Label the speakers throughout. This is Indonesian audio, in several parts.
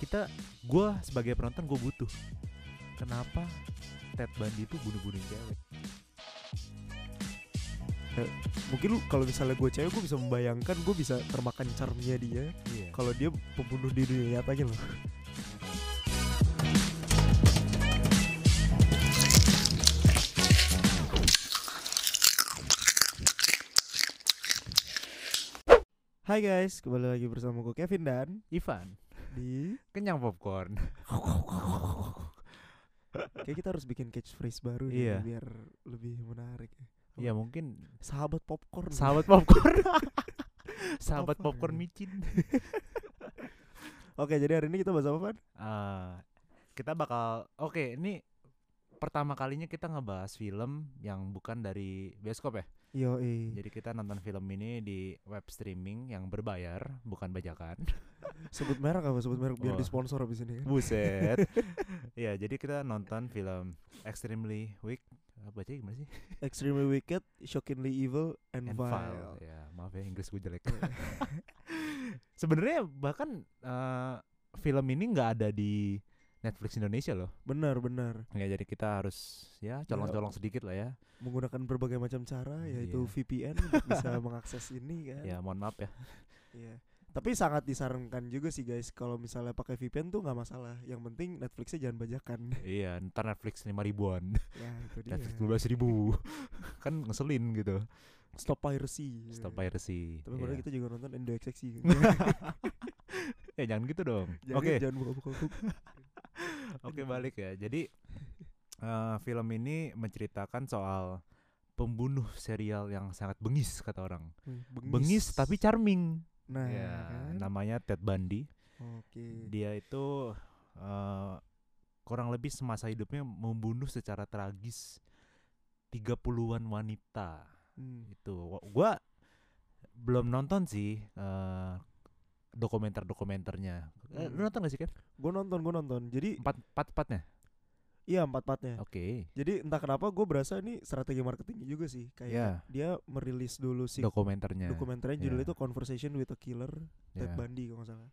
Speaker 1: kita gue sebagai penonton gue butuh kenapa Ted Bundy itu bunuh-bunuhin cewek
Speaker 2: mungkin lu kalau misalnya gue cewek gue bisa membayangkan gue bisa termakan charmnya dia
Speaker 1: iya
Speaker 2: kalau dia pembunuh di dunia nyata gitu loh Hai guys, kembali lagi bersama gue Kevin dan
Speaker 1: Ivan
Speaker 2: di
Speaker 1: kenyang popcorn
Speaker 2: kayak kita harus bikin catchphrase baru nih
Speaker 1: Iya.
Speaker 2: biar lebih menarik.
Speaker 1: ya mungkin
Speaker 2: Sahabat popcorn.
Speaker 1: sahabat popcorn sahabat popcorn micin
Speaker 2: Oke, jadi hari ini kita bahas apa, Van?
Speaker 1: Eh, kita bakal oke ini pertama kalinya kita ngebahas film yang bukan dari bioskop ya
Speaker 2: Yo,
Speaker 1: jadi kita nonton film ini di web streaming yang berbayar bukan bajakan
Speaker 2: sebut merek apa sebut merek
Speaker 1: Wah.
Speaker 2: biar di sponsor abis ini kan.
Speaker 1: buset ya jadi kita nonton film extremely weak apa baca gimana sih
Speaker 2: Extremely Wicked, Shockingly Evil, and,
Speaker 1: And
Speaker 2: Vile. Iya.
Speaker 1: Vile. Ya, maaf ya Inggris gue jelek. Sebenarnya bahkan eh, film ini nggak ada di Netflix Indonesia loh.
Speaker 2: Benar, benar.
Speaker 1: Ya jadi kita harus
Speaker 2: Iya.
Speaker 1: ya colong-colong sedikit lah ya.
Speaker 2: Menggunakan berbagai macam cara yaitu
Speaker 1: Iya.
Speaker 2: VPN untuk bisa mengakses ini kan.
Speaker 1: Ya mohon maaf ya.
Speaker 2: Iya. Tapi sangat disarankan juga sih guys kalau misalnya pakai VPN tuh nggak masalah. Yang penting Netflixnya jangan bajakan.
Speaker 1: Iya, ntar Netflix lima ribuan,
Speaker 2: ya, itu dia.
Speaker 1: Netflix dua belas ribu, kan ngeselin gitu.
Speaker 2: Stop piracy.
Speaker 1: Stop piracy.
Speaker 2: Iya. Tapi gitu. padahal
Speaker 1: Iya.
Speaker 2: kita juga nonton NDXX sih.
Speaker 1: Eh, jangan gitu dong.
Speaker 2: Jangan-
Speaker 1: Oke,
Speaker 2: jangan buka-buka. hook.
Speaker 1: oke balik ya. Jadi eh, film ini menceritakan soal pembunuh serial yang sangat bengis kata orang.
Speaker 2: Wih,
Speaker 1: bengis tapi charming.
Speaker 2: Nah,
Speaker 1: ya,
Speaker 2: kan? Iya.
Speaker 1: namanya Ted Bundy.
Speaker 2: Oke.
Speaker 1: Dia itu eh, kurang lebih semasa hidupnya membunuh secara tragis 30-an wanita.
Speaker 2: Hmm.
Speaker 1: Itu Wa- gua belum nonton sih eh, dokumenter-dokumenternya. Eh, lu
Speaker 2: Hmm.
Speaker 1: nonton gak sih kan?
Speaker 2: Gue nonton, gue nonton. Jadi
Speaker 1: Empat empat empatnya.
Speaker 2: iya empat empatnya.
Speaker 1: Oke.
Speaker 2: Jadi entah kenapa gue berasa ini strategi marketingnya juga sih kayak
Speaker 1: Ya,
Speaker 2: dia merilis dulu sih
Speaker 1: dokumenternya.
Speaker 2: dokumenternya judulnya
Speaker 1: Iya.
Speaker 2: itu Conversation with a Killer
Speaker 1: Ya.
Speaker 2: Ted Bundy kalau nggak salah.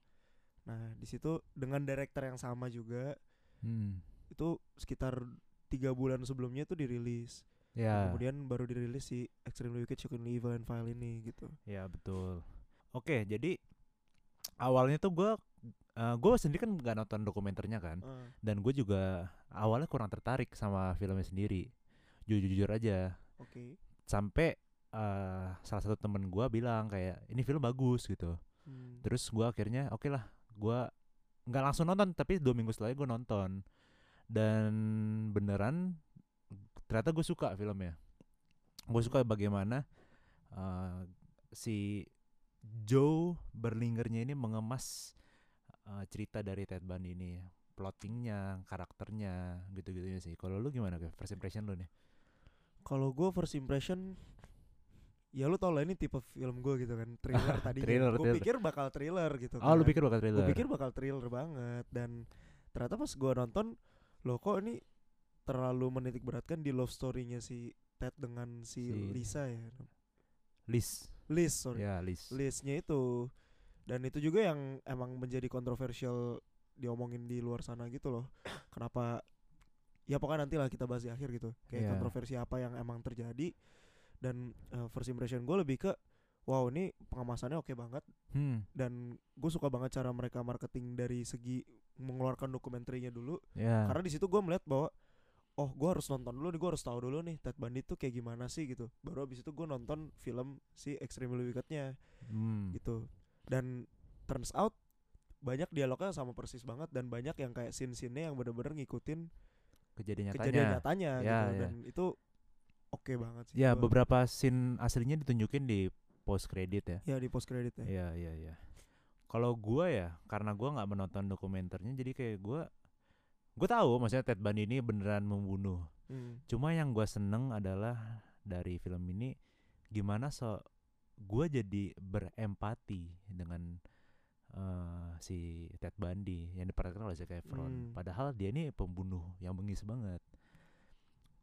Speaker 2: Nah di situ dengan director yang sama juga
Speaker 1: Hmm.
Speaker 2: itu sekitar tiga bulan sebelumnya itu dirilis.
Speaker 1: Ya.
Speaker 2: Kemudian baru dirilis si Extremely Wicked, Shockingly Evil, and Vile ini gitu.
Speaker 1: Ya betul. Oke, jadi awalnya tuh gue gue sendiri kan nggak nonton dokumenternya kan,
Speaker 2: Eh,
Speaker 1: dan gue juga awalnya kurang tertarik sama filmnya sendiri. Jujur-jujur aja,
Speaker 2: Oke.
Speaker 1: sampai eh, salah satu temen gue bilang kayak ini film bagus gitu.
Speaker 2: Hmm.
Speaker 1: Terus gue akhirnya oke lah, gue nggak langsung nonton, tapi dua minggu setelah gue nonton dan beneran ternyata gue suka filmnya. Gue suka bagaimana eh, si Joe Berlingernya ini mengemas eh, cerita dari Ted Bundy ini, plottingnya, karakternya, gitu-gitunya sih. Kalau lu gimana, Kev? First impression lu nih?
Speaker 2: Kalau gue first impression Ya lu tau lah ini tipe film gue gitu kan Thriller tadi
Speaker 1: Thriller,
Speaker 2: Gue
Speaker 1: thriller.
Speaker 2: pikir bakal thriller gitu
Speaker 1: Oh, lu
Speaker 2: kan.
Speaker 1: pikir bakal
Speaker 2: gue
Speaker 1: trailer?
Speaker 2: pikir bakal thriller banget dan ternyata pas gue nonton loh kok ini terlalu menitik beratkan di love story-nya si Ted dengan si,
Speaker 1: Si-
Speaker 2: Lisa ya
Speaker 1: Liz.
Speaker 2: Liz sorry
Speaker 1: Ya, Liz.
Speaker 2: Liznya itu dan itu juga yang emang menjadi kontroversial diomongin di luar sana gitu loh kenapa ya pokoknya nanti lah kita bahas di akhir gitu kayak
Speaker 1: Iya.
Speaker 2: kontroversi apa yang emang terjadi dan eh, first impression gue lebih ke wow ini pengemasannya oke banget
Speaker 1: Hmm,
Speaker 2: dan gue suka banget cara mereka marketing dari segi mengeluarkan dokumenternya dulu
Speaker 1: ya.
Speaker 2: karena di situ gue melihat bahwa oh gue harus nonton dulu nih gue harus tahu dulu nih Ted Bundy tuh kayak gimana sih gitu baru abis itu gue nonton film si Extremely Wickednya
Speaker 1: Hmm.
Speaker 2: gitu dan turns out banyak dialognya sama persis banget dan banyak yang kayak scene-scene yang bener-bener ngikutin
Speaker 1: Kejadian nyatanya.
Speaker 2: kejadian nyatanya
Speaker 1: Ya,
Speaker 2: gitu
Speaker 1: ya.
Speaker 2: dan itu oke banget sih
Speaker 1: Ya
Speaker 2: gua-
Speaker 1: beberapa scene aslinya ditunjukin di post credit ya.
Speaker 2: ya di post credit ya
Speaker 1: Iya iya iya. Kalau gua ya karena gua nggak menonton dokumenternya jadi kayak gua gua tahu maksudnya Ted Bundy ini beneran membunuh.
Speaker 2: Hmm.
Speaker 1: Cuma yang gua seneng adalah dari film ini gimana so gua jadi berempati dengan eh, si Ted Bundy yang diperankan oleh Zac Efron.
Speaker 2: Hmm.
Speaker 1: Padahal dia ini pembunuh yang bengis banget.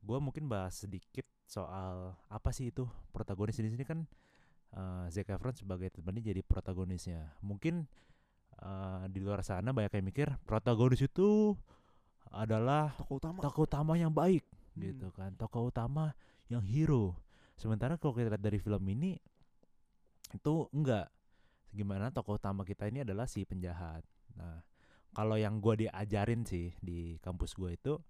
Speaker 1: Gua mungkin bahas sedikit soal apa sih itu protagonis di sini kan eh Zac Efron sebagai Ted Bundy jadi protagonisnya. Mungkin eh, di luar sana banyak yang mikir protagonis itu adalah
Speaker 2: tokoh utama
Speaker 1: tokoh utama yang baik
Speaker 2: Hmm.
Speaker 1: gitu kan tokoh utama yang hero sementara kalau kita lihat dari film ini itu enggak gimana tokoh utama kita ini adalah si penjahat nah kalau yang gua diajarin sih di kampus gua itu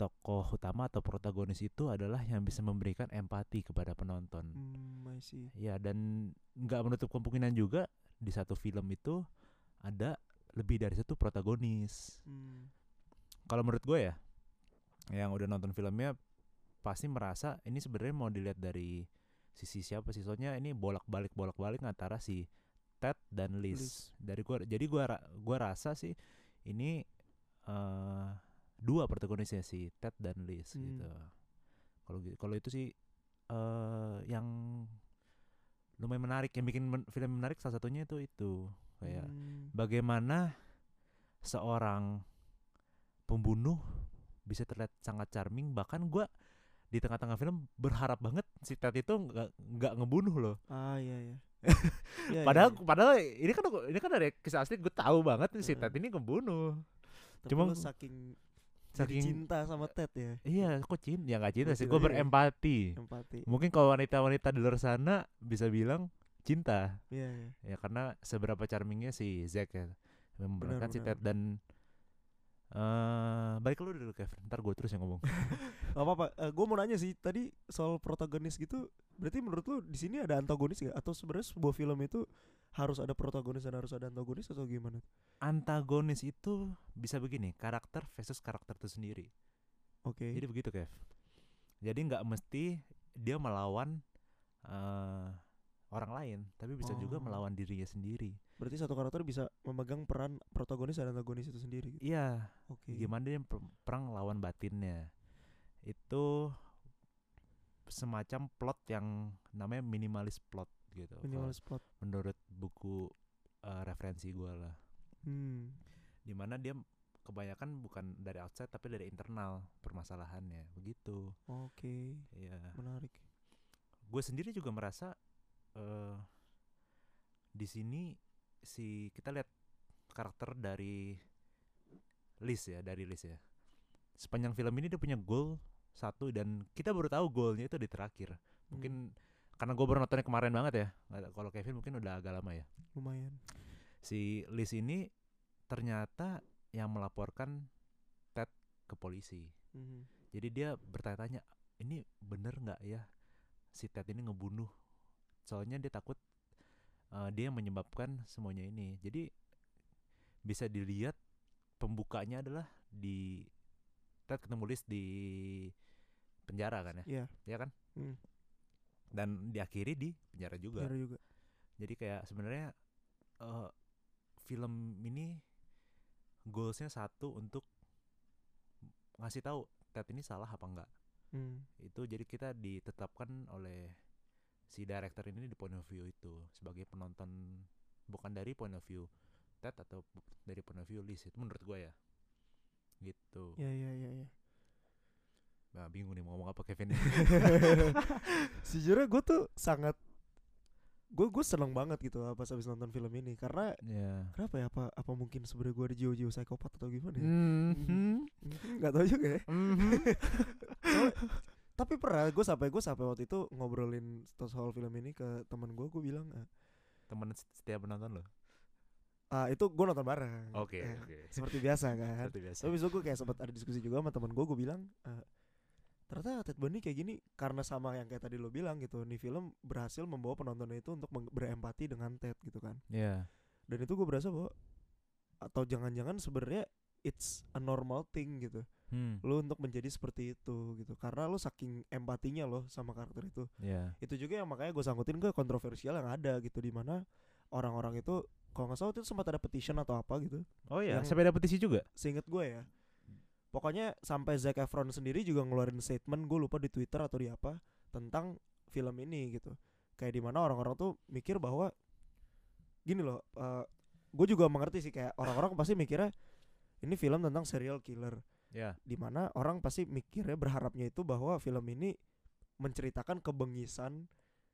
Speaker 1: tokoh utama atau protagonis itu adalah yang bisa memberikan empati kepada penonton
Speaker 2: Hmm, I see.
Speaker 1: Ya dan nggak menutup kemungkinan juga di satu film itu ada lebih dari satu protagonis.
Speaker 2: Hmm.
Speaker 1: Kalau menurut gue ya, yang udah nonton filmnya pasti merasa ini sebenarnya mau dilihat dari sisi siapa sih soalnya ini bolak-balik bolak-balik antara si Ted dan Liz.
Speaker 2: Liz.
Speaker 1: Dari gua jadi gua ra- gua rasa sih ini eh dua protagonisnya si Ted dan Liz
Speaker 2: Hmm.
Speaker 1: gitu. Kalau gitu- kalau itu sih eh yang lumayan menarik yang bikin men- film menarik salah satunya itu itu kayak
Speaker 2: Hmm.
Speaker 1: bagaimana seorang pembunuh bisa terlihat sangat charming bahkan gua di tengah-tengah film berharap banget si Ted itu nggak nggak ngebunuh loh
Speaker 2: ah iya iya Ya, ya,
Speaker 1: padahal
Speaker 2: ya.
Speaker 1: padahal ini kan ini kan dari kisah asli gue tahu banget nih si
Speaker 2: Heeh.
Speaker 1: Ted ini ngebunuh
Speaker 2: Tapi
Speaker 1: cuma-
Speaker 2: lu saking, saking
Speaker 1: saking-
Speaker 2: cinta sama Ted ya
Speaker 1: iya kok cinta ya nggak cinta
Speaker 2: Gua
Speaker 1: sih
Speaker 2: juga
Speaker 1: gue
Speaker 2: iya.
Speaker 1: berempati
Speaker 2: empati
Speaker 1: mungkin kalau wanita-wanita di luar sana bisa bilang cinta
Speaker 2: iya iya
Speaker 1: ya karena seberapa charmingnya si Zack ya yang
Speaker 2: Benar,
Speaker 1: memerankan si
Speaker 2: benar.
Speaker 1: Ted dan eh balik lu dulu Kevin ntar gue terus yang ngomong
Speaker 2: Gak apa-apa. gue mau nanya sih tadi soal protagonis gitu. Berarti menurut lu di sini ada antagonis gak? Atau sebenarnya sebuah film itu harus ada protagonis dan harus ada antagonis atau gimana?
Speaker 1: antagonis itu bisa begini karakter versus karakter itu sendiri
Speaker 2: Oke.
Speaker 1: jadi begitu Kev jadi nggak mesti dia melawan eh orang lain tapi bisa juga
Speaker 2: Oh.
Speaker 1: melawan dirinya sendiri
Speaker 2: Berarti satu karakter bisa memegang peran protagonis dan antagonis itu sendiri. gitu.
Speaker 1: iya
Speaker 2: Oke.
Speaker 1: gimana dia per- perang lawan batinnya itu semacam plot yang namanya minimalis plot gitu kalau
Speaker 2: Minimal spot.
Speaker 1: menurut buku eh, referensi gua lah
Speaker 2: Hmm.
Speaker 1: dimana dia kebanyakan bukan dari outside tapi dari internal permasalahannya begitu
Speaker 2: Oke.
Speaker 1: ya
Speaker 2: Menarik.
Speaker 1: gue sendiri juga merasa eh di sini si kita lihat karakter dari Liz ya dari Liz ya sepanjang film ini dia punya goal satu dan kita baru tahu goalnya itu di terakhir
Speaker 2: Hmm,
Speaker 1: mungkin karena gue baru nontonnya kemarin banget ya Nggak tahu, kalau Kevin mungkin udah agak lama ya
Speaker 2: lumayan.
Speaker 1: si Liz ini ternyata yang melaporkan Ted ke polisi
Speaker 2: Mhm.
Speaker 1: jadi dia bertanya-tanya, ini bener nggak ya si Ted ini ngebunuh? Soalnya dia takut eh, dia yang menyebabkan semuanya ini. Jadi bisa dilihat pembukanya adalah di Ted ketemu Liz di penjara kan ya,
Speaker 2: Iya.
Speaker 1: ya kan?
Speaker 2: Hmm.
Speaker 1: Dan diakhiri di penjara juga.
Speaker 2: Benar juga.
Speaker 1: Jadi kayak sebenarnya eh, film ini goalsnya satu untuk ngasih tahu Ted ini salah apa enggak
Speaker 2: Hmm.
Speaker 1: itu jadi kita ditetapkan oleh si director ini di point of view itu sebagai penonton bukan dari point of view Ted atau bu- dari point of view Liz itu menurut gue ya gitu
Speaker 2: Ya ya ya ya.
Speaker 1: nah, bingung nih mau ngomong apa Kevin
Speaker 2: Sejujurnya gue tuh sangat gue gue seneng banget gitu pas habis nonton film ini karena
Speaker 1: ya
Speaker 2: Kenapa ya? Apa apa mungkin sebenarnya gue ada jiwa-jiwa psikopat atau gimana? ya?
Speaker 1: Mhm.
Speaker 2: Gak tau juga ya.
Speaker 1: Mhm.
Speaker 2: Soalnya- tapi pernah gue sampai gue sampai waktu itu ngobrolin soal film ini ke teman gue, gue bilang "Ah,
Speaker 1: teman setiap penonton loh
Speaker 2: ah itu gue nonton bareng.
Speaker 1: oke
Speaker 2: Eh,
Speaker 1: oke
Speaker 2: Seperti biasa kan.
Speaker 1: seperti biasa
Speaker 2: Tapi besok gue kayak sempat ada diskusi juga sama teman gue, gue bilang "Ah, ternyata Ted Bundy kayak gini karena sama yang kayak tadi lo bilang gitu. Nih film berhasil membawa penontonnya itu untuk meng- berempati dengan Ted gitu kan.
Speaker 1: ya
Speaker 2: Dan itu gue berasa bahwa atau jangan-jangan sebenarnya it's a normal thing gitu.
Speaker 1: hmm.
Speaker 2: lu untuk menjadi seperti itu gitu karena lu saking empatinya loh sama karakter itu
Speaker 1: ya
Speaker 2: itu juga yang makanya gue sangkutin ke kontroversial yang ada gitu di mana orang-orang itu kalau nggak salah waktu itu sempat ada petition atau apa gitu
Speaker 1: oh ya
Speaker 2: Yang-
Speaker 1: sampai ada petisi juga
Speaker 2: seinget gue ya pokoknya sampai Zac Efron sendiri juga ngeluarin statement gue lupa di Twitter atau di apa tentang film ini gitu kayak di mana orang-orang tuh mikir bahwa gini loh gue juga mengerti sih kayak orang-orang pasti mikirnya ini film tentang serial killer
Speaker 1: ya
Speaker 2: dimana orang pasti mikirnya berharapnya itu bahwa film ini menceritakan kebengisan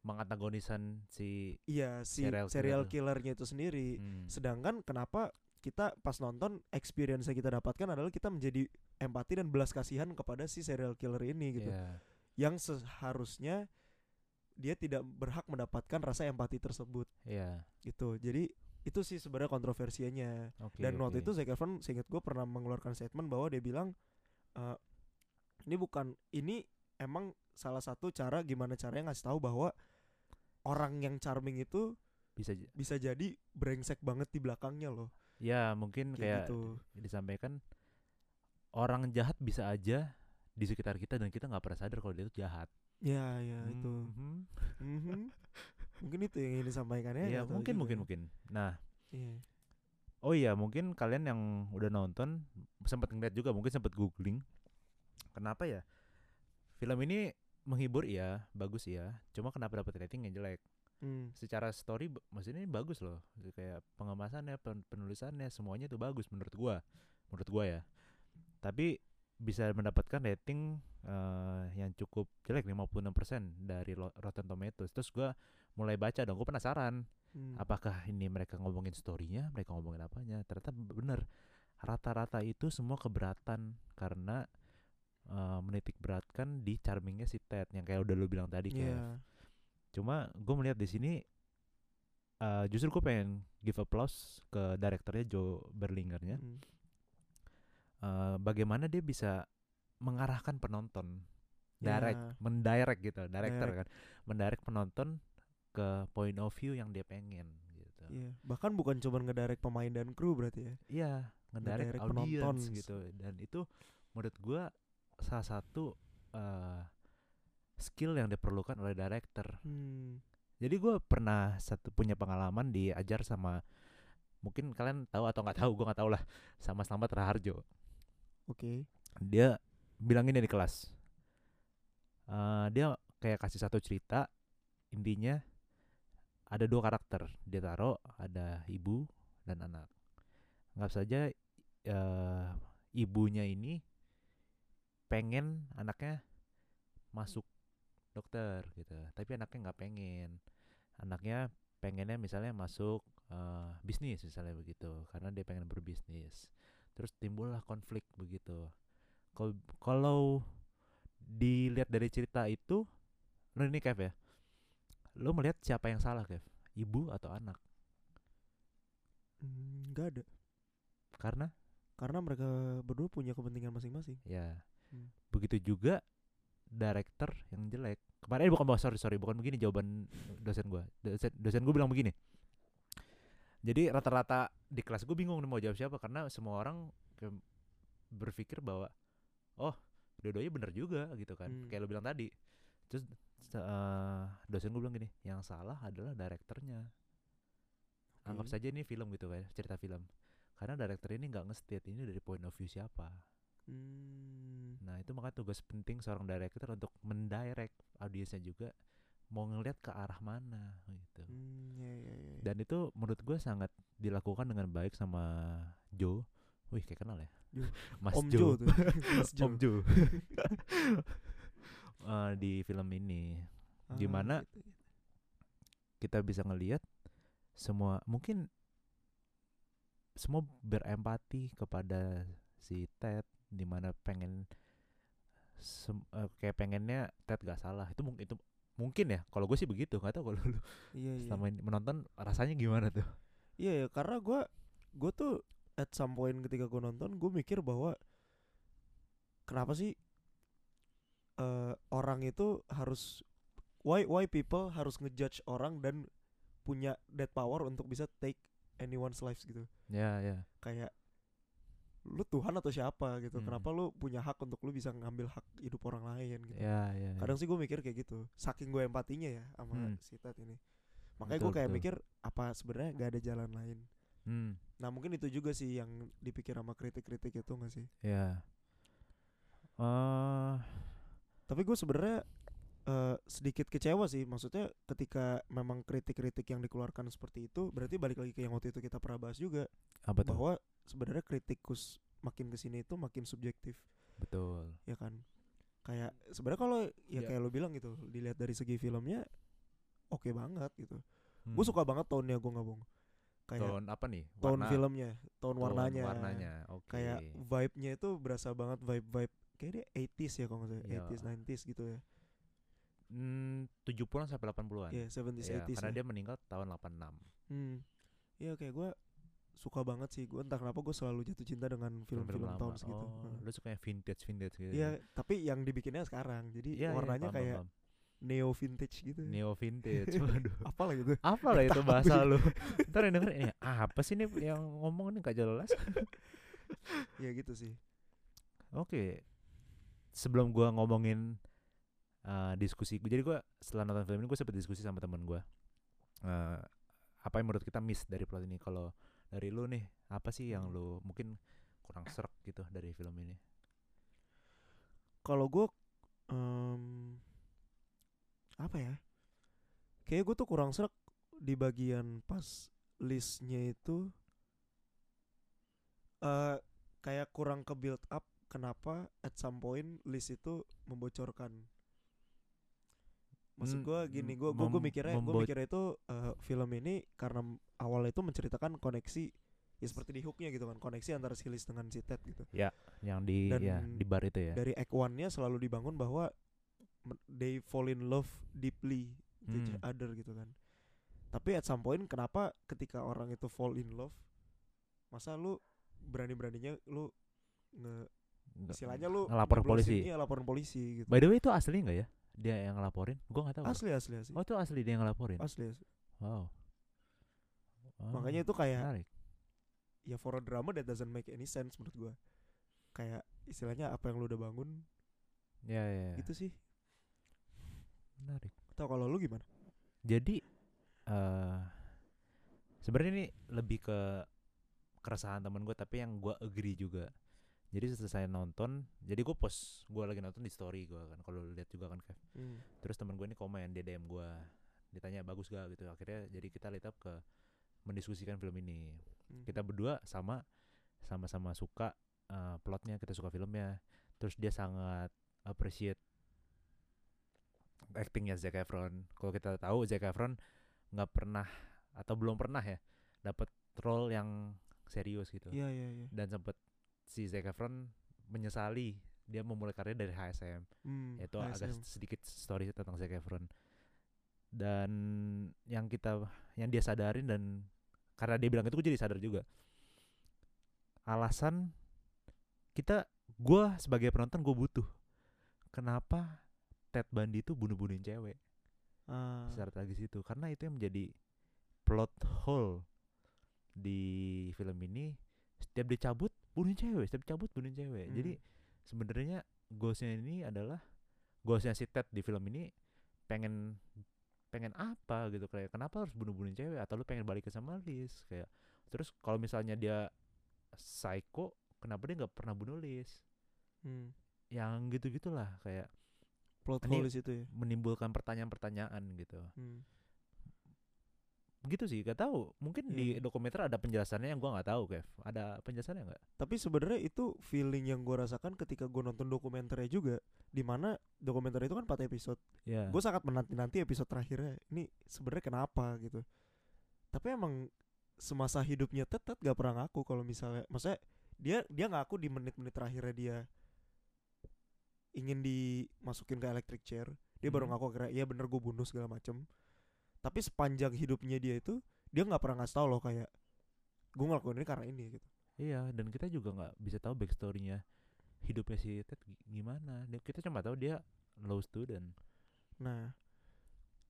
Speaker 1: mengantagonisan si
Speaker 2: iya si serial,
Speaker 1: Serial
Speaker 2: killernya itu sendiri
Speaker 1: hmm.
Speaker 2: sedangkan kenapa kita pas nonton experience yang kita dapatkan adalah kita menjadi empati dan belas kasihan kepada si serial killer ini gitu
Speaker 1: Iya.
Speaker 2: yang seharusnya dia tidak berhak mendapatkan rasa empati tersebut
Speaker 1: Iya.
Speaker 2: gitu jadi itu sih sebenarnya kontroversinya
Speaker 1: Oke.
Speaker 2: dan waktu
Speaker 1: oke.
Speaker 2: itu Zac Efron seingat gue pernah mengeluarkan statement bahwa dia bilang "Eh, ini bukan ini emang salah satu cara gimana caranya ngasih tahu bahwa orang yang charming itu
Speaker 1: bisa j-
Speaker 2: bisa jadi brengsek banget di belakangnya loh
Speaker 1: ya mungkin kayak
Speaker 2: kayak gitu
Speaker 1: disampaikan orang jahat bisa aja di sekitar kita dan kita nggak pernah sadar kalau dia itu jahat.
Speaker 2: ya ya itu
Speaker 1: Mhm.
Speaker 2: Mhm. mungkin itu yang ingin disampaikan
Speaker 1: Iya, mungkin mungkin mungkin. Nah,
Speaker 2: Iya.
Speaker 1: Oh iya, mungkin kalian yang udah nonton sempat ngeliat juga, mungkin sempat googling. Kenapa ya? Film ini menghibur iya, bagus iya. Cuma kenapa dapat rating yang jelek?
Speaker 2: Hmm.
Speaker 1: Secara story ba- maksudnya ini bagus loh. Kayak pengemasannya, pen- penulisannya semuanya itu bagus menurut gua. Menurut gua ya. Tapi bisa mendapatkan rating eh, yang cukup jelek 56% dari lo- Rotten Tomatoes. Terus gua mulai baca dong, gua penasaran
Speaker 2: Hmm.
Speaker 1: apakah ini mereka ngomongin storynya mereka ngomongin apanya ternyata bener rata-rata itu semua keberatan karena eh, menitik beratkan di charmingnya si Ted yang kayak udah lu bilang tadi
Speaker 2: Iya.
Speaker 1: Kev. cuma gue melihat di sini eh, justru gue pengen give applause ke direkturnya Joe Berlingernya
Speaker 2: Hmm.
Speaker 1: Eh, bagaimana dia bisa mengarahkan penonton direct
Speaker 2: Ya.
Speaker 1: mendirect gitu director
Speaker 2: Direct.
Speaker 1: kan mendirect penonton ke point of view yang dia pengen gitu
Speaker 2: Iya. bahkan bukan cuma ngedirect pemain dan kru berarti ya
Speaker 1: Iya, ngedirect
Speaker 2: Ngedirect
Speaker 1: audience
Speaker 2: penonton.
Speaker 1: gitu dan itu menurut gua salah satu eh, skill yang diperlukan oleh director.
Speaker 2: Hmm.
Speaker 1: Jadi gua pernah satu punya pengalaman diajar sama mungkin kalian tahu atau nggak tahu gua nggak tahu lah sama Slamet Raharjo.
Speaker 2: oke
Speaker 1: Dia bilangin di kelas. Eh, dia kayak kasih satu cerita intinya ada dua karakter dia taruh ada ibu dan anak nggak saja eh, ibunya ini pengen anaknya masuk dokter gitu tapi anaknya nggak pengen anaknya pengennya misalnya masuk eh, bisnis misalnya begitu karena dia pengen berbisnis terus timbullah konflik begitu Kal- kalau dilihat dari cerita itu lu ini Kev ya lu melihat siapa yang salah Kev ibu atau anak
Speaker 2: Hmm, nggak ada
Speaker 1: karena
Speaker 2: karena mereka berdua punya kepentingan masing-masing
Speaker 1: ya
Speaker 2: Hmm.
Speaker 1: begitu juga director yang jelek kemarin eh, bukan oh, sorry sorry bukan begini jawaban dosen gua dosen dosen gua bilang begini jadi rata-rata di kelas gue bingung nih mau jawab siapa karena semua orang kayak berpikir bahwa oh dua-duanya bener juga gitu kan
Speaker 2: Hmm.
Speaker 1: kayak lo bilang tadi terus se- eh, dosen gue bilang gini yang salah adalah direkturnya anggap
Speaker 2: Oke.
Speaker 1: saja ini film gitu kan cerita film karena director ini nggak nge-state ini dari point of view siapa
Speaker 2: Hmm,
Speaker 1: nah itu maka tugas penting seorang director untuk mendirect audiensnya juga mau ngelihat ke arah mana gitu
Speaker 2: hmm, ya, ya, ya, ya.
Speaker 1: dan itu menurut gue sangat dilakukan dengan baik sama Joe wih kayak kenal ya
Speaker 2: Jo.
Speaker 1: Mas
Speaker 2: Om Jo
Speaker 1: Joe
Speaker 2: tuh. Mas Jo.
Speaker 1: Om Joe Eh, di film ini
Speaker 2: Ah,
Speaker 1: gimana
Speaker 2: gitu, gitu.
Speaker 1: kita bisa ngelihat semua mungkin semua berempati kepada si Ted dimana pengen sem- eh, kayak pengennya Ted gak salah itu mungkin itu mungkin ya kalau gue sih begitu nggak tahu kalau lu
Speaker 2: Iya, iya.
Speaker 1: selama ini menonton rasanya gimana tuh
Speaker 2: Iya, iya, karena gua gua tuh at some point ketika gua nonton gue mikir bahwa kenapa sih eh orang itu harus why why people harus ngejudge orang dan punya that power untuk bisa take anyone's lives gitu.
Speaker 1: ya ya
Speaker 2: kayak lu Tuhan atau siapa gitu
Speaker 1: Hmm.
Speaker 2: kenapa lu punya hak untuk lu bisa ngambil hak hidup orang lain gitu
Speaker 1: ya ya ya.
Speaker 2: kadang sih gue mikir kayak gitu saking gue empatinya ya sama
Speaker 1: Hmm.
Speaker 2: si Ted ini makanya gue
Speaker 1: Betul,
Speaker 2: kayak
Speaker 1: betul.
Speaker 2: mikir apa sebenarnya gak ada jalan lain
Speaker 1: hmm,
Speaker 2: nah mungkin itu juga sih yang dipikir sama kritik-kritik itu gak sih
Speaker 1: ya Eh,
Speaker 2: tapi gue sebenarnya eh, sedikit kecewa sih maksudnya ketika memang kritik-kritik yang dikeluarkan seperti itu berarti balik lagi ke yang waktu itu kita pernah bahas juga
Speaker 1: apa tuh
Speaker 2: bahwa sebenarnya kritikus makin kesini itu makin subjektif
Speaker 1: betul
Speaker 2: ya kan kayak sebenarnya kalau ya
Speaker 1: Ya.
Speaker 2: kayak lo bilang gitu dilihat dari segi filmnya oke banget gitu gue suka banget tonnya gue nggak bohong kayak
Speaker 1: tahun apa nih
Speaker 2: tone
Speaker 1: Hmm. Warna-
Speaker 2: filmnya tone
Speaker 1: tone
Speaker 2: warnanya,
Speaker 1: warnanya oke
Speaker 2: kayak vibe-nya itu berasa banget vibe vibe kayak dia 80s ya kalau nggak salah
Speaker 1: Iya.
Speaker 2: 80s 90s gitu ya
Speaker 1: Hmm, 70-an sampai 80-an
Speaker 2: ya 70s
Speaker 1: Iya,
Speaker 2: 80s
Speaker 1: karena
Speaker 2: lah.
Speaker 1: dia meninggal tahun 86
Speaker 2: Hmm. Iya kayak gue suka banget sih gue entah kenapa gue selalu jatuh cinta dengan film-film
Speaker 1: lama.
Speaker 2: tahun segitu.
Speaker 1: oh,
Speaker 2: Heeh.
Speaker 1: lu suka yang vintage vintage gitu Iya,
Speaker 2: Iya, tapi yang dibikinnya sekarang. Jadi warnanya kayak neo vintage gitu.
Speaker 1: neo vintage waduh
Speaker 2: Apa lah gitu.
Speaker 1: apa lah itu
Speaker 2: Tapi-
Speaker 1: bahasa lu ntar yang denger ini apa sih nih yang ngomong ini gak jelas
Speaker 2: ya gitu sih.
Speaker 1: oke sebelum gua ngomongin eh, diskusi gua- jadi gua setelah nonton film ini gue sempet diskusi sama temen gua Eh, apa yang menurut kita miss dari plot ini kalau dari lu nih apa sih
Speaker 2: Hmm.
Speaker 1: yang lu mungkin kurang serak gitu dari film ini
Speaker 2: Kalau gue apa ya? Kayaknya gue tuh kurang serak di bagian pas listnya itu eh kayak kurang ke build up kenapa at some point list itu membocorkan maksud
Speaker 1: Hmm,
Speaker 2: gue gini
Speaker 1: mem-
Speaker 2: gue gue
Speaker 1: mem-
Speaker 2: mikirnya gue
Speaker 1: membo-
Speaker 2: mikirnya itu eh, film ini karena m- awalnya itu menceritakan koneksi ya seperti di hooknya gitu kan koneksi antara si list dengan si Ted gitu
Speaker 1: yang di
Speaker 2: Dan
Speaker 1: ya di bar itu ya
Speaker 2: dari act one-nya selalu dibangun bahwa m- they fall in love deeply to each
Speaker 1: Hmm.
Speaker 2: other gitu kan. Tapi at some point kenapa ketika orang itu fall in love masa lu berani-beraninya lu nge
Speaker 1: Nggak-
Speaker 2: istilahnya lu
Speaker 1: ngelapor
Speaker 2: nyeblosin-
Speaker 1: polisi.
Speaker 2: Iya, laporan polisi gitu.
Speaker 1: By the way itu asli nggak ya? Dia yang ngelaporin? Gua nggak tahu.
Speaker 2: Asli asli asli.
Speaker 1: Oh itu asli dia yang ngelaporin.
Speaker 2: Asli, asli.
Speaker 1: Wow. Wow,
Speaker 2: Makanya itu kayak
Speaker 1: Oh, menarik.
Speaker 2: ya for a drama that doesn't make any sense menurut gua. Kayak istilahnya apa yang lu udah bangun
Speaker 1: Ya ya. ya.
Speaker 2: gitu sih.
Speaker 1: Menarik.
Speaker 2: Tau kalau lu gimana?
Speaker 1: Jadi eh sebenarnya ini lebih ke keresahan temen gue tapi yang gua agree juga. Jadi selesai nonton, jadi gue post gua lagi nonton di story gua kan. Kalau lu lihat juga kan Kev.
Speaker 2: Hmm.
Speaker 1: Terus temen gue ini komen dia DM gua ditanya bagus gak gitu. Akhirnya jadi kita lead up ke mendiskusikan film ini.
Speaker 2: Hmm.
Speaker 1: kita berdua sama sama-sama suka eh, plotnya kita suka filmnya terus dia sangat appreciate actingnya Zac Efron kalau kita tahu Zac Efron nggak pernah atau belum pernah ya dapat role yang serius gitu
Speaker 2: Iya iya iya.
Speaker 1: dan sempet si Zac Efron menyesali dia memulai karirnya dari HSM
Speaker 2: Hmm,
Speaker 1: Ya, itu agak
Speaker 2: ASM.
Speaker 1: sedikit story tentang Zac Efron dan yang kita yang dia sadarin dan karena dia bilang itu gue jadi sadar juga alasan kita gua sebagai penonton gue butuh kenapa Ted Bundy itu bunuh-bunuhin cewek
Speaker 2: Ah.
Speaker 1: secara tragis itu karena itu yang menjadi plot hole di film ini setiap dicabut bunuhin cewek setiap dicabut bunuhin cewek jadi
Speaker 2: Hmm.
Speaker 1: sebenarnya goalsnya ini adalah goalsnya si Ted di film ini pengen pengen apa gitu kayak kenapa harus bunuh-bunuhin cewek atau lu pengen balik ke sama Liz kayak terus kalau misalnya dia psycho kenapa dia nggak pernah bunuh Liz
Speaker 2: Hmm.
Speaker 1: yang gitu gitulah kayak
Speaker 2: plot
Speaker 1: Ini-
Speaker 2: hole di situ ya.
Speaker 1: menimbulkan pertanyaan-pertanyaan gitu
Speaker 2: Hmm.
Speaker 1: gitu sih gak tahu mungkin
Speaker 2: Iya,
Speaker 1: di
Speaker 2: iya.
Speaker 1: dokumenter ada penjelasannya yang gua nggak tahu Kev ada penjelasannya nggak
Speaker 2: Tapi sebenarnya itu feeling yang gue rasakan ketika gue nonton dokumenternya juga, di mana dokumenter itu kan 4 episode.
Speaker 1: ya
Speaker 2: Gue sangat menanti-nanti episode terakhirnya. Ini sebenarnya kenapa gitu? Tapi emang semasa hidupnya tetet gak pernah ngaku kalau misalnya, maksudnya dia dia ngaku di menit-menit terakhirnya dia ingin dimasukin ke electric chair. Dia baru
Speaker 1: Mhm.
Speaker 2: ngaku akhirnya, ya bener gue bunuh segala macem. Tapi sepanjang hidupnya dia itu dia nggak pernah ngasih tau loh kayak gue ngelakuin ini karena ini gitu.
Speaker 1: iya dan kita juga nggak bisa tahu backstorynya hidupnya si Ted gi- gimana Dia- kita cuma tahu dia low student
Speaker 2: Nah,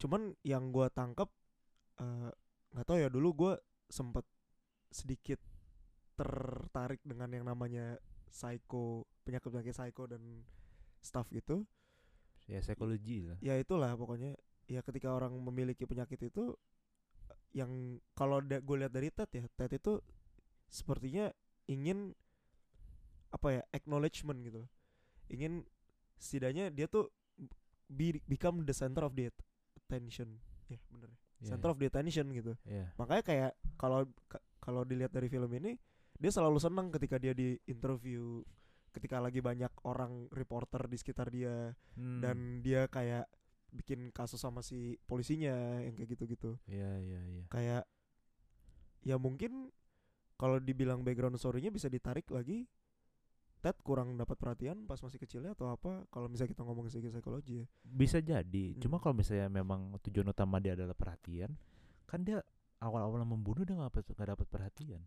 Speaker 2: cuman yang gua tangkep eh, nggak tahu ya dulu gua sempet sedikit tertarik dengan yang namanya psycho penyakit penyakit psycho dan stuff itu.
Speaker 1: ya psikologi lah
Speaker 2: Ya itulah pokoknya ya ketika orang memiliki penyakit itu eh, yang kalau da- gue lihat dari Ted ya Ted itu sepertinya ingin apa ya acknowledgement gitu loh. ingin setidaknya dia tuh be- become the center of the at- attention ya bener ya.
Speaker 1: Iya,
Speaker 2: center of the attention gitu
Speaker 1: iya.
Speaker 2: makanya kayak kalau ka- kalau dilihat dari film ini dia selalu senang ketika dia di interview ketika lagi banyak orang reporter di sekitar dia
Speaker 1: Hmm,
Speaker 2: dan dia kayak bikin kasus sama si polisinya yang kayak gitu-gitu
Speaker 1: Iya iya iya.
Speaker 2: kayak ya mungkin kalau dibilang background story-nya bisa ditarik lagi Ted kurang dapat perhatian pas masih kecilnya atau apa kalau misalnya kita ngomongin segi psikologi ya
Speaker 1: Bisa jadi. Cuma
Speaker 2: Hmm.
Speaker 1: kalau misalnya memang tujuan utama dia adalah perhatian, kan dia awal-awal membunuh dia nggak dapat nggak dapat perhatian.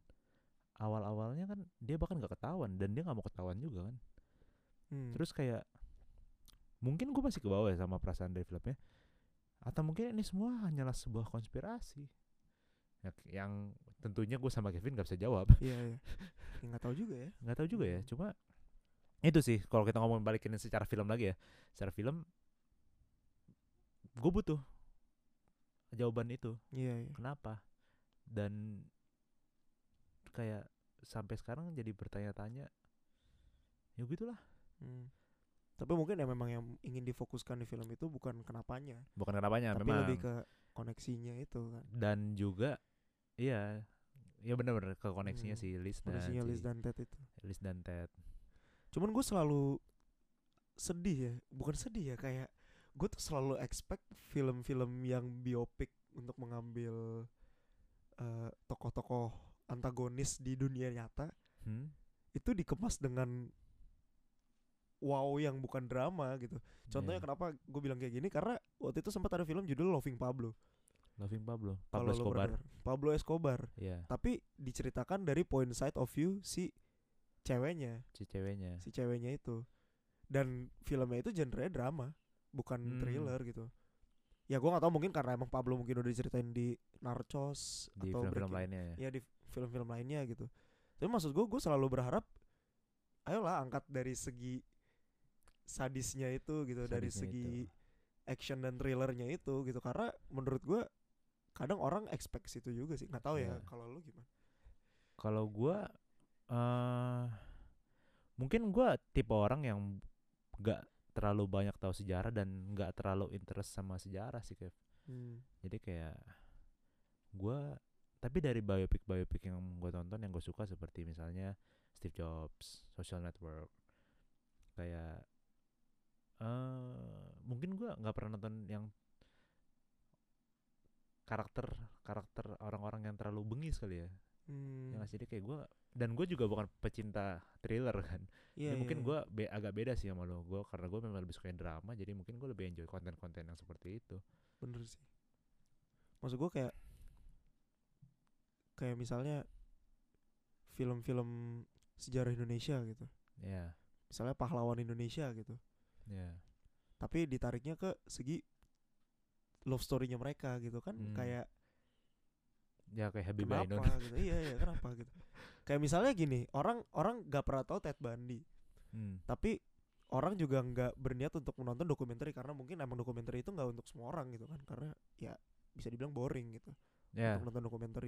Speaker 1: Awal-awalnya kan dia bahkan nggak ketahuan dan dia nggak mau ketahuan juga kan.
Speaker 2: Hmm.
Speaker 1: Terus kayak mungkin gue masih ke bawah ya sama perasaan dari filmnya. Atau mungkin ini semua hanyalah sebuah konspirasi. Ya, yang tentunya gue sama Kevin nggak bisa jawab.
Speaker 2: iya iya Ya, nggak tahu juga ya
Speaker 1: nggak tahu juga ya
Speaker 2: Hmm.
Speaker 1: cuma itu sih kalau kita ngomongin balikin secara film lagi ya secara film gue butuh jawaban itu
Speaker 2: iya iya
Speaker 1: kenapa dan kayak sampai sekarang jadi bertanya-tanya ya gitulah
Speaker 2: Hmm. tapi mungkin ya memang yang ingin difokuskan di film itu bukan kenapanya
Speaker 1: bukan kenapanya Ya,
Speaker 2: tapi
Speaker 1: memang
Speaker 2: lebih ke koneksinya itu kan
Speaker 1: dan juga iya ya bener-bener ke koneksinya
Speaker 2: Hmm,
Speaker 1: sih Liz dan
Speaker 2: koneksinya
Speaker 1: si-
Speaker 2: Liz dan Ted itu
Speaker 1: Liz dan Ted
Speaker 2: cuman gue selalu sedih ya bukan sedih ya kayak gue tuh selalu expect film-film yang biopik untuk mengambil eh, tokoh-tokoh antagonis di dunia nyata
Speaker 1: Hmm?
Speaker 2: itu dikemas dengan wow yang bukan drama gitu
Speaker 1: Iya.
Speaker 2: contohnya kenapa gue bilang kayak gini karena waktu itu sempat ada film judul Loving Pablo
Speaker 1: Loving Pablo Pablo
Speaker 2: kalau lo
Speaker 1: Escobar
Speaker 2: pernah dengar. Pablo Escobar
Speaker 1: ya
Speaker 2: tapi diceritakan dari point side of view si ceweknya
Speaker 1: si ceweknya
Speaker 2: si ceweknya itu dan filmnya itu genre drama bukan
Speaker 1: Hmm.
Speaker 2: thriller gitu ya gua nggak tahu mungkin karena emang Pablo mungkin udah diceritain di Narcos
Speaker 1: di
Speaker 2: atau
Speaker 1: film-film
Speaker 2: Breaking-
Speaker 1: lainnya ya
Speaker 2: ya di film-film lainnya gitu tapi maksud gue gue selalu berharap ayolah angkat dari segi sadisnya itu gitu dari
Speaker 1: Sadisnya
Speaker 2: segi
Speaker 1: itu.
Speaker 2: action dan thrillernya itu gitu karena menurut gue kadang orang expect situ juga sih nggak tahu ya
Speaker 1: Iya.
Speaker 2: kalau lu gimana
Speaker 1: Kalau gua eh mungkin gua tipe orang yang gak terlalu banyak tahu sejarah dan gak terlalu interest sama sejarah sih Kev. Jadi kayak gua tapi dari biopic biopic yang gue tonton yang gue suka seperti misalnya Steve Jobs, Social Network, kayak eh mungkin gua nggak pernah nonton yang karakter karakter orang-orang yang terlalu bengis kali ya
Speaker 2: Hmm.
Speaker 1: Ya nggak sih? Jadi kayak gue dan gue juga bukan pecinta thriller kan. jadi
Speaker 2: Iya, iya,
Speaker 1: mungkin
Speaker 2: iya.
Speaker 1: gue be- agak beda sih sama lo. Gue karena gue memang lebih suka drama, jadi mungkin gue lebih enjoy konten-konten yang seperti itu.
Speaker 2: bener sih maksud gue kayak kayak misalnya film-film sejarah Indonesia gitu
Speaker 1: Ya,
Speaker 2: misalnya pahlawan Indonesia gitu
Speaker 1: ya.
Speaker 2: tapi ditariknya ke segi love story-nya mereka gitu kan
Speaker 1: Hmm.
Speaker 2: kayak
Speaker 1: Ya kayak Happy Ainun.
Speaker 2: kenapa gitu iya iya kenapa gitu kayak misalnya gini orang orang gak pernah tahu Ted Bundy
Speaker 1: Hmm,
Speaker 2: tapi orang juga nggak berniat untuk menonton dokumenter karena mungkin emang dokumenter itu nggak untuk semua orang gitu kan karena ya bisa dibilang boring gitu
Speaker 1: Ya.
Speaker 2: untuk nonton dokumenter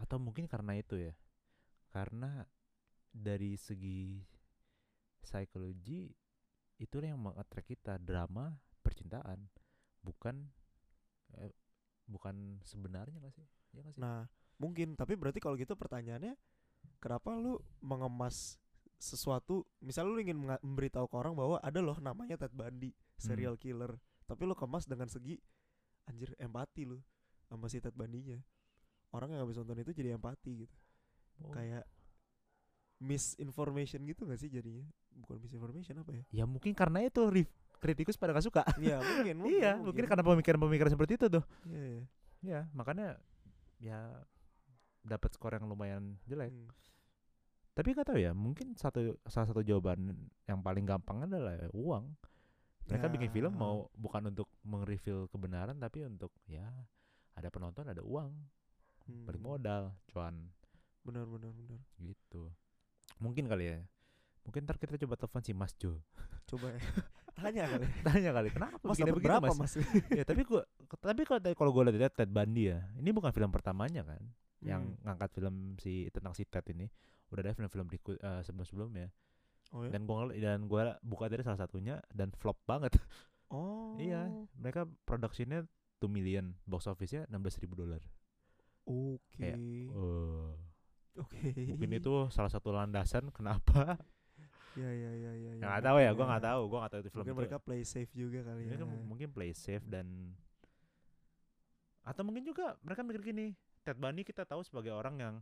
Speaker 1: Atau mungkin karena itu ya. Karena dari segi psikologi itulah yang mengattract kita drama percintaan bukan eh, bukan sebenarnya gak sih? Ya gak sih?
Speaker 2: Nah, mungkin tapi berarti kalau gitu pertanyaannya kenapa lu mengemas sesuatu, misal lu ingin menga- memberitahu ke orang bahwa ada loh namanya Ted Bundy, serial
Speaker 1: Hmm.
Speaker 2: killer, tapi lu kemas dengan segi anjir empati lu sama si Ted Bundy-nya. Orang yang habis nonton itu jadi empati gitu.
Speaker 1: Oh.
Speaker 2: Kayak misinformation gitu gak sih jadinya? Bukan misinformation apa
Speaker 1: Ya
Speaker 2: ya?
Speaker 1: mungkin karena itu rev- kritikus pada gak suka.
Speaker 2: Iya, mungkin, mungkin.
Speaker 1: iya, mungkin karena pemikiran-pemikiran seperti itu tuh.
Speaker 2: Iya, iya.
Speaker 1: Iya, makanya ya dapat skor yang lumayan jelek.
Speaker 2: Hmm.
Speaker 1: Tapi nggak tahu ya, mungkin satu salah satu jawaban yang paling gampang adalah ya uang. Mereka bikin film
Speaker 2: Ya.
Speaker 1: mau bukan untuk meng-reveal kebenaran tapi untuk ya ada penonton, ada uang,
Speaker 2: Hmm.
Speaker 1: balik modal, cuan
Speaker 2: Benar, benar, benar.
Speaker 1: gitu. Mungkin kali ya. Mungkin ntar kita coba telepon si Mas Jo.
Speaker 2: Coba ya. Tanya kali.
Speaker 1: Tanya kali kenapa
Speaker 2: Mas
Speaker 1: begini
Speaker 2: dapat
Speaker 1: begini
Speaker 2: berapa,
Speaker 1: Oh, Mas?
Speaker 2: Mas?
Speaker 1: ya tapi gua tapi kalau tadi- kalau gue lihat Ted Bundy ya, ini bukan film pertamanya kan?
Speaker 2: Hmm.
Speaker 1: yang ngangkat film si tentang si Ted ini udah ada film-film diku- eh, sebelum-sebelumnya
Speaker 2: Oh ya?
Speaker 1: dan gua ngel- dan gua buka dari salah satunya dan flop banget
Speaker 2: Oh.
Speaker 1: Iya. mereka produksinya 2 million box office-nya 16 ribu dolar
Speaker 2: Oke.
Speaker 1: Eh,
Speaker 2: Oke.
Speaker 1: mungkin itu salah satu landasan kenapa
Speaker 2: ya ya ya ya
Speaker 1: Ya, nggak tahu ya, gua nggak tahu, gua nggak tahu itu film
Speaker 2: mungkin
Speaker 1: itu.
Speaker 2: mereka play safe juga kali
Speaker 1: Ini
Speaker 2: ya
Speaker 1: kan mungkin play safe dan atau mungkin juga mereka mikir gini, Ted Bundy kita tahu sebagai orang yang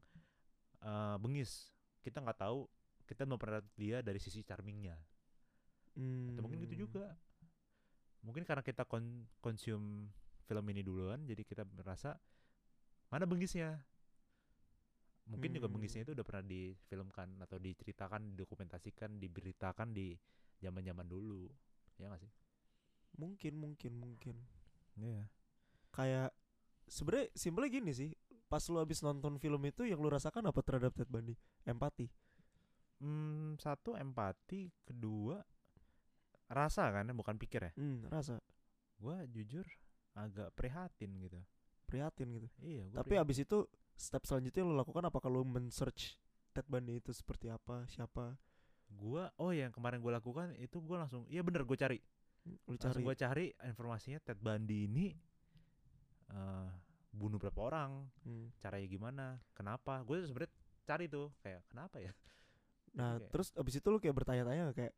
Speaker 1: eh, bengis, kita nggak tahu kita memperhatikan dia dari sisi charmingnya. Atau mungkin
Speaker 2: Hmm.
Speaker 1: gitu juga. Mungkin karena kita kon consume film ini duluan, jadi kita merasa mana bengisnya. Mungkin
Speaker 2: Hmm.
Speaker 1: juga bengisnya itu udah pernah difilmkan atau diceritakan, didokumentasikan, diberitakan di zaman-zaman dulu. Ya nggak sih?
Speaker 2: mungkin mungkin mungkin
Speaker 1: Iya.
Speaker 2: kayak sebenarnya simpelnya gini sih pas lu abis nonton film itu yang lu rasakan apa terhadap Ted Bundy empati
Speaker 1: Hmm, satu empati, kedua rasa kan, bukan pikir ya.
Speaker 2: hmm, rasa
Speaker 1: Gua jujur agak prihatin gitu.
Speaker 2: prihatin gitu
Speaker 1: Iya. Gua
Speaker 2: tapi
Speaker 1: prihatin.
Speaker 2: abis itu step selanjutnya yang lu lakukan apakah lu men-search Ted Bundy itu seperti apa siapa
Speaker 1: gua oh yang kemarin gua lakukan itu gua langsung, iya bener gua cari.
Speaker 2: Hmm, lu
Speaker 1: Langsung
Speaker 2: cari
Speaker 1: gua cari informasinya Ted Bundy ini eh bunuh berapa orang,
Speaker 2: Hmm.
Speaker 1: caranya gimana, kenapa. Gue sebenernya cari tuh kayak kenapa ya.
Speaker 2: nah
Speaker 1: kayak-
Speaker 2: terus abis itu lu kayak bertanya-tanya nggak? kayak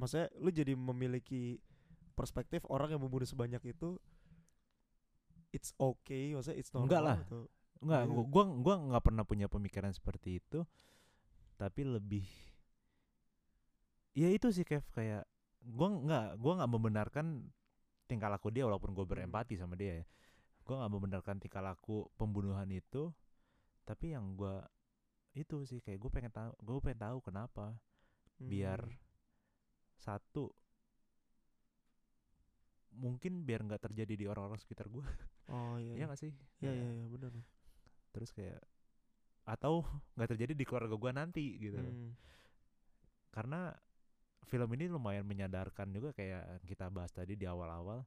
Speaker 2: maksudnya lu jadi memiliki perspektif orang yang membunuh sebanyak itu it's okay maksudnya it's normal
Speaker 1: Enggak lah.
Speaker 2: atau-
Speaker 1: Enggak,
Speaker 2: Iya.
Speaker 1: gua gua gua nggak pernah punya pemikiran seperti itu. Tapi lebih Ya itu sih Kev kayak gua nggak gua nggak membenarkan tingkah laku dia walaupun gue berempati sama dia ya. Gua nggak membenarkan tingkah laku pembunuhan itu, tapi yang gua itu sih kayak gue pengen tahu gue pengen tahu kenapa biar
Speaker 2: Hmm.
Speaker 1: satu mungkin biar nggak terjadi di orang-orang sekitar gue
Speaker 2: oh
Speaker 1: ya
Speaker 2: iya
Speaker 1: nggak sih
Speaker 2: iya
Speaker 1: Kayak-
Speaker 2: iya iya, benar
Speaker 1: terus kayak atau nggak terjadi di keluarga gua nanti gitu loh.
Speaker 2: Hmm.
Speaker 1: karena film ini lumayan menyadarkan juga kayak yang kita bahas tadi di awal-awal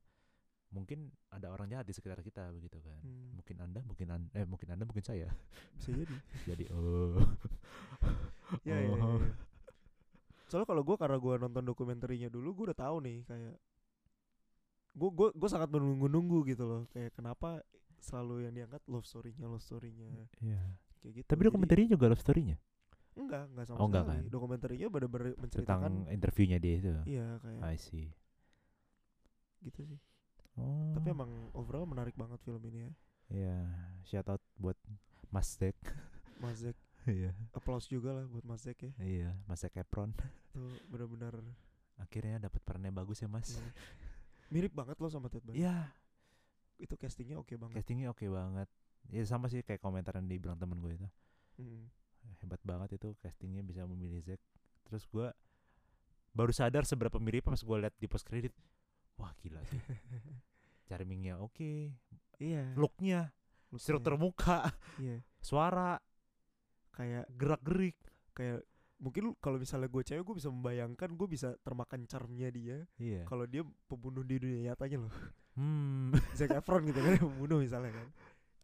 Speaker 1: mungkin ada orang jahat di sekitar kita begitu kan
Speaker 2: Hmm.
Speaker 1: mungkin anda mungkin anda eh mungkin anda mungkin saya
Speaker 2: bisa jadi
Speaker 1: jadi oh
Speaker 2: ya, ya, ya,
Speaker 1: Oh.
Speaker 2: ya. soalnya kalau gue karena gue nonton dokumenterinya dulu gue udah tahu nih kayak gue gue gue sangat menunggu-nunggu gitu loh kayak kenapa selalu yang diangkat love story-nya love story-nya
Speaker 1: Iya.
Speaker 2: kayak gitu
Speaker 1: tapi
Speaker 2: Jadi-
Speaker 1: dokumenternya juga love story-nya
Speaker 2: enggak enggak sama
Speaker 1: Oh, enggak
Speaker 2: sekali
Speaker 1: kan?
Speaker 2: dokumenterinya bener-bener menceritakan
Speaker 1: tentang interviewnya dia itu
Speaker 2: iya kayak
Speaker 1: I see
Speaker 2: gitu sih
Speaker 1: oh
Speaker 2: tapi emang overall menarik banget film ini ya
Speaker 1: ya shout out buat Mas Zack
Speaker 2: Mas Zack
Speaker 1: iya
Speaker 2: applause juga lah buat Mas Zack ya
Speaker 1: iya Mas Zack Efron
Speaker 2: tuh bener-bener
Speaker 1: akhirnya dapat perannya bagus ya Mas
Speaker 2: ya. mirip banget loh sama Ted Bundy
Speaker 1: Iya
Speaker 2: itu castingnya oke banget
Speaker 1: castingnya oke banget ya sama sih kayak komentar yang dibilang temen gue itu
Speaker 2: Mm.
Speaker 1: hebat banget itu castingnya bisa memilih Zack terus gue baru sadar seberapa mirip pas gue liat di post credit wah gila sih charmingnya oke
Speaker 2: iya
Speaker 1: looknya
Speaker 2: looknya.
Speaker 1: struktur muka
Speaker 2: iya
Speaker 1: suara
Speaker 2: kayak
Speaker 1: gerak gerik
Speaker 2: kayak mungkin lu- kalau misalnya gue cewek gue bisa membayangkan gue bisa termakan charmnya dia
Speaker 1: iya
Speaker 2: kalau dia pembunuh di dunia nyatanya loh
Speaker 1: hmm
Speaker 2: Zac Efron gitu kan yang membunuh misalnya kan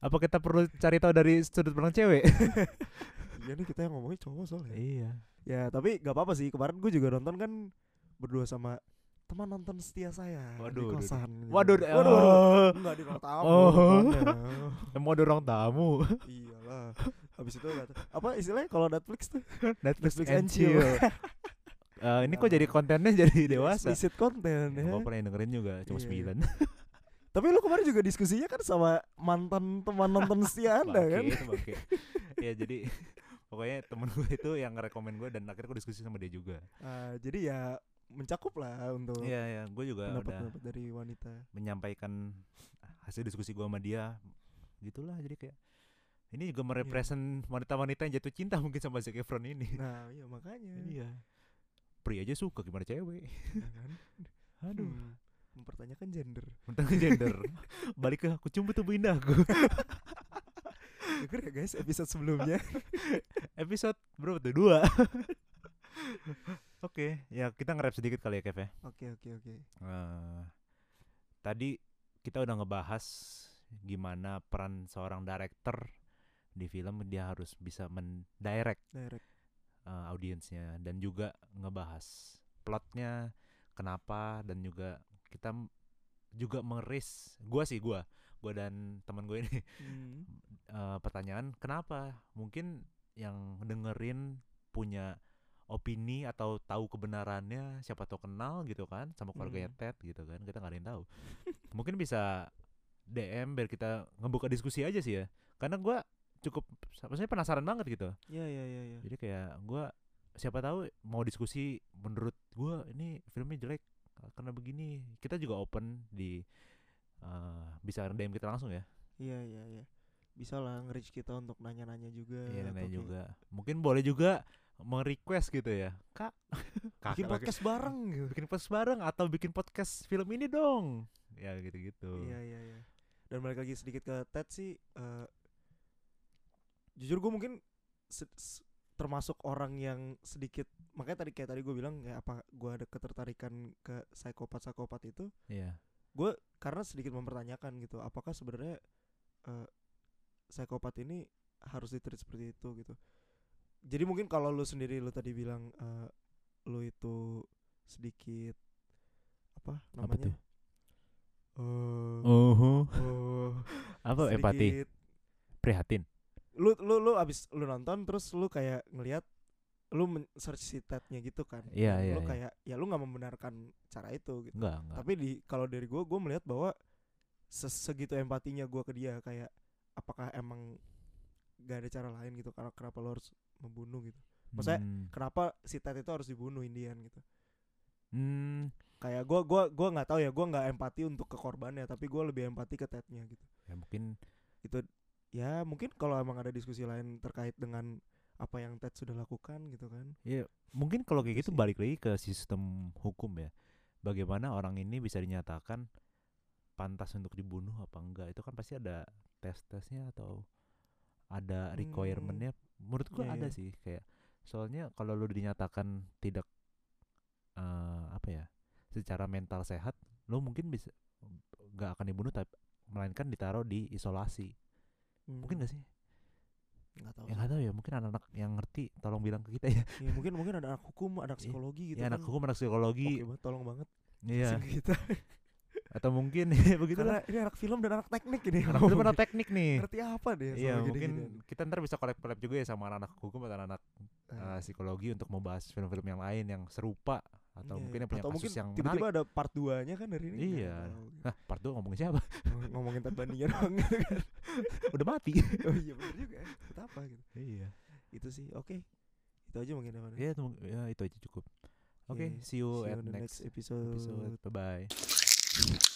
Speaker 1: apa kita perlu cari tahu dari sudut pandang cewek
Speaker 2: iya nih kita yang ngomongin cowok soalnya
Speaker 1: iya
Speaker 2: ya tapi gak apa-apa sih kemarin gue juga nonton kan berdua sama teman nonton setia saya
Speaker 1: Waduh,
Speaker 2: di
Speaker 1: waduh,
Speaker 2: kosan gitu.
Speaker 1: waduh
Speaker 2: waduh, waduh.
Speaker 1: waduh,
Speaker 2: Enggak di ruang tamu
Speaker 1: Oh.
Speaker 2: nontonnya.
Speaker 1: mau dorong tamu
Speaker 2: Iyalah Habis itu nggak tahu- Apa istilahnya kalau Netflix tuh
Speaker 1: Netflix,
Speaker 2: Netflix
Speaker 1: and chill, Eh, ini kok jadi kontennya jadi dewasa
Speaker 2: Explicit konten Iya, ya
Speaker 1: Gue pernah yang dengerin juga cuma
Speaker 2: Iya, iya.
Speaker 1: sembilan
Speaker 2: Tapi lu kemarin juga diskusinya kan sama mantan teman nonton setia anda kan?
Speaker 1: Bangke, bangke. ya jadi pokoknya temen gue itu yang ngerekomen gue dan akhirnya gue diskusi sama dia juga
Speaker 2: Ah, jadi ya mencakup lah untuk
Speaker 1: iya iya gue juga udah
Speaker 2: pendapat-pendapat dari wanita.
Speaker 1: menyampaikan hasil diskusi gue sama dia gitulah jadi kayak ini juga merepresent wanita-wanita yang jatuh cinta mungkin sama Zac Efron ini
Speaker 2: Nah, iya makanya.
Speaker 1: iya pria aja suka gimana cewek
Speaker 2: Ya kan?
Speaker 1: aduh
Speaker 2: Hmm, mempertanyakan gender.
Speaker 1: tentang gender balik ke aku cumbu tubuh indahku
Speaker 2: Dengar ya guys episode sebelumnya.
Speaker 1: episode berapa tuh dua oke ya kita nge-rap sedikit kali ya Kev ya
Speaker 2: Oke oke oke.
Speaker 1: Eh, tadi kita udah ngebahas gimana peran seorang director di film dia harus bisa mendirect
Speaker 2: Direct.
Speaker 1: eh, audiensnya dan juga ngebahas plotnya kenapa dan juga kita m- juga mengeris gua sih gua gua dan teman gue ini
Speaker 2: Hmm.
Speaker 1: eh, pertanyaan kenapa mungkin yang dengerin punya opini atau tahu kebenarannya siapa tahu kenal gitu kan sama keluarganya
Speaker 2: Mm.
Speaker 1: Ted gitu kan kita nggak ada yang tahu mungkin bisa DM biar kita ngebuka diskusi aja sih ya karena gua cukup maksudnya penasaran banget gitu
Speaker 2: Iya iya iya iya.
Speaker 1: jadi kayak gua siapa tahu mau diskusi menurut gua ini filmnya jelek karena begini kita juga open di eh, bisa DM kita langsung ya
Speaker 2: Iya iya iya. Bisa lah nge-reach kita untuk nanya-nanya juga.
Speaker 1: Iya
Speaker 2: atau
Speaker 1: nanya
Speaker 2: kayak-
Speaker 1: juga mungkin boleh juga request gitu ya kak
Speaker 2: Bikin podcast bareng gitu.
Speaker 1: bikin podcast bareng atau bikin podcast film ini dong ya gitu-gitu
Speaker 2: Iya iya iya. Dan balik lagi sedikit ke Ted sih eh, jujur gue mungkin se- se- termasuk orang yang sedikit makanya tadi kayak tadi gue bilang kayak apa gue ada ketertarikan ke psikopat psikopat itu
Speaker 1: iya
Speaker 2: gue karena sedikit mempertanyakan gitu apakah sebenarnya eh, psikopat ini harus diterit seperti itu gitu jadi mungkin kalau lu sendiri lu tadi bilang eh, lu itu sedikit apa
Speaker 1: Apa
Speaker 2: namanya
Speaker 1: tuh?
Speaker 2: Eh,
Speaker 1: oh
Speaker 2: eh,
Speaker 1: apa empati
Speaker 2: sedikit-
Speaker 1: prihatin
Speaker 2: lu lu lu abis lu nonton terus lu kayak ngelihat lu men- search si Ted-nya gitu kan
Speaker 1: Iya,
Speaker 2: Dan
Speaker 1: iya,
Speaker 2: lu
Speaker 1: iya.
Speaker 2: kayak ya lu nggak membenarkan cara itu gitu
Speaker 1: enggak enggak
Speaker 2: tapi di kalau dari gue gue melihat bahwa ses- segitu empatinya gue ke dia kayak apakah emang gak ada cara lain gitu karena kenapa lo harus membunuh gitu maksudnya-
Speaker 1: Hmm,
Speaker 2: kenapa si Ted itu harus dibunuh Indian gitu
Speaker 1: hmm,
Speaker 2: kayak gue gua gua nggak tahu ya gue nggak empati untuk ke korbannya tapi gue lebih empati ke Tednya gitu
Speaker 1: ya mungkin
Speaker 2: itu ya mungkin kalau emang ada diskusi lain terkait dengan apa yang Ted sudah lakukan gitu kan
Speaker 1: ya mungkin kalau kayak
Speaker 2: Itu
Speaker 1: gitu
Speaker 2: sih.
Speaker 1: balik lagi ke sistem hukum ya bagaimana orang ini bisa dinyatakan pantas untuk dibunuh apa enggak itu kan pasti ada tes tesnya atau ada
Speaker 2: Hmm.
Speaker 1: requirementnya menurut gua
Speaker 2: Iya,
Speaker 1: ada
Speaker 2: iya.
Speaker 1: sih kayak soalnya kalau lu dinyatakan tidak eh apa ya secara mental sehat lu mungkin bisa nggak akan dibunuh tapi melainkan ditaruh di isolasi mungkin
Speaker 2: Hmm,
Speaker 1: gak sih
Speaker 2: nggak tahu
Speaker 1: ya nggak tahu ya mungkin anak-anak yang ngerti tolong bilang ke kita ya,
Speaker 2: sih. Ya, mungkin mungkin ada anak hukum anak
Speaker 1: Iya.
Speaker 2: psikologi gitu
Speaker 1: ya
Speaker 2: kan.
Speaker 1: anak hukum anak
Speaker 2: Oke
Speaker 1: psikologi
Speaker 2: banget, tolong banget
Speaker 1: iya
Speaker 2: Sini kita
Speaker 1: atau mungkin ya begitu
Speaker 2: Karena
Speaker 1: lah
Speaker 2: ini anak film dan kan anak teknik ini.
Speaker 1: anak itu pernah teknik nih
Speaker 2: Ngerti ya, apa deh soal
Speaker 1: iya mungkin
Speaker 2: gini-ginian.
Speaker 1: kita ntar bisa collab collab juga ya sama anak-anak hukum atau anak
Speaker 2: Eh,
Speaker 1: psikologi untuk membahas film-film yang lain yang serupa atau
Speaker 2: iya,
Speaker 1: mungkin
Speaker 2: iya.
Speaker 1: yang punya
Speaker 2: Atau
Speaker 1: kasus
Speaker 2: mungkin
Speaker 1: yang
Speaker 2: tiba-tiba
Speaker 1: menarik
Speaker 2: ada part 2-nya kan dari ini. nggak
Speaker 1: Iya.
Speaker 2: tahu.
Speaker 1: nah part 2 ngomongin siapa
Speaker 2: Ngom- Ngomongin Ted Bundy-nya doang gitu kan.
Speaker 1: udah mati
Speaker 2: Oh iya benar juga. ya. Buat apa gitu.
Speaker 1: iya
Speaker 2: Itu sih. Oke. Itu aja mungkin Evan, ya.
Speaker 1: ya, itu mung- ya, itu aja cukup oke
Speaker 2: Iya,
Speaker 1: see you
Speaker 2: See you
Speaker 1: at
Speaker 2: on the
Speaker 1: next
Speaker 2: episode.
Speaker 1: episode bye bye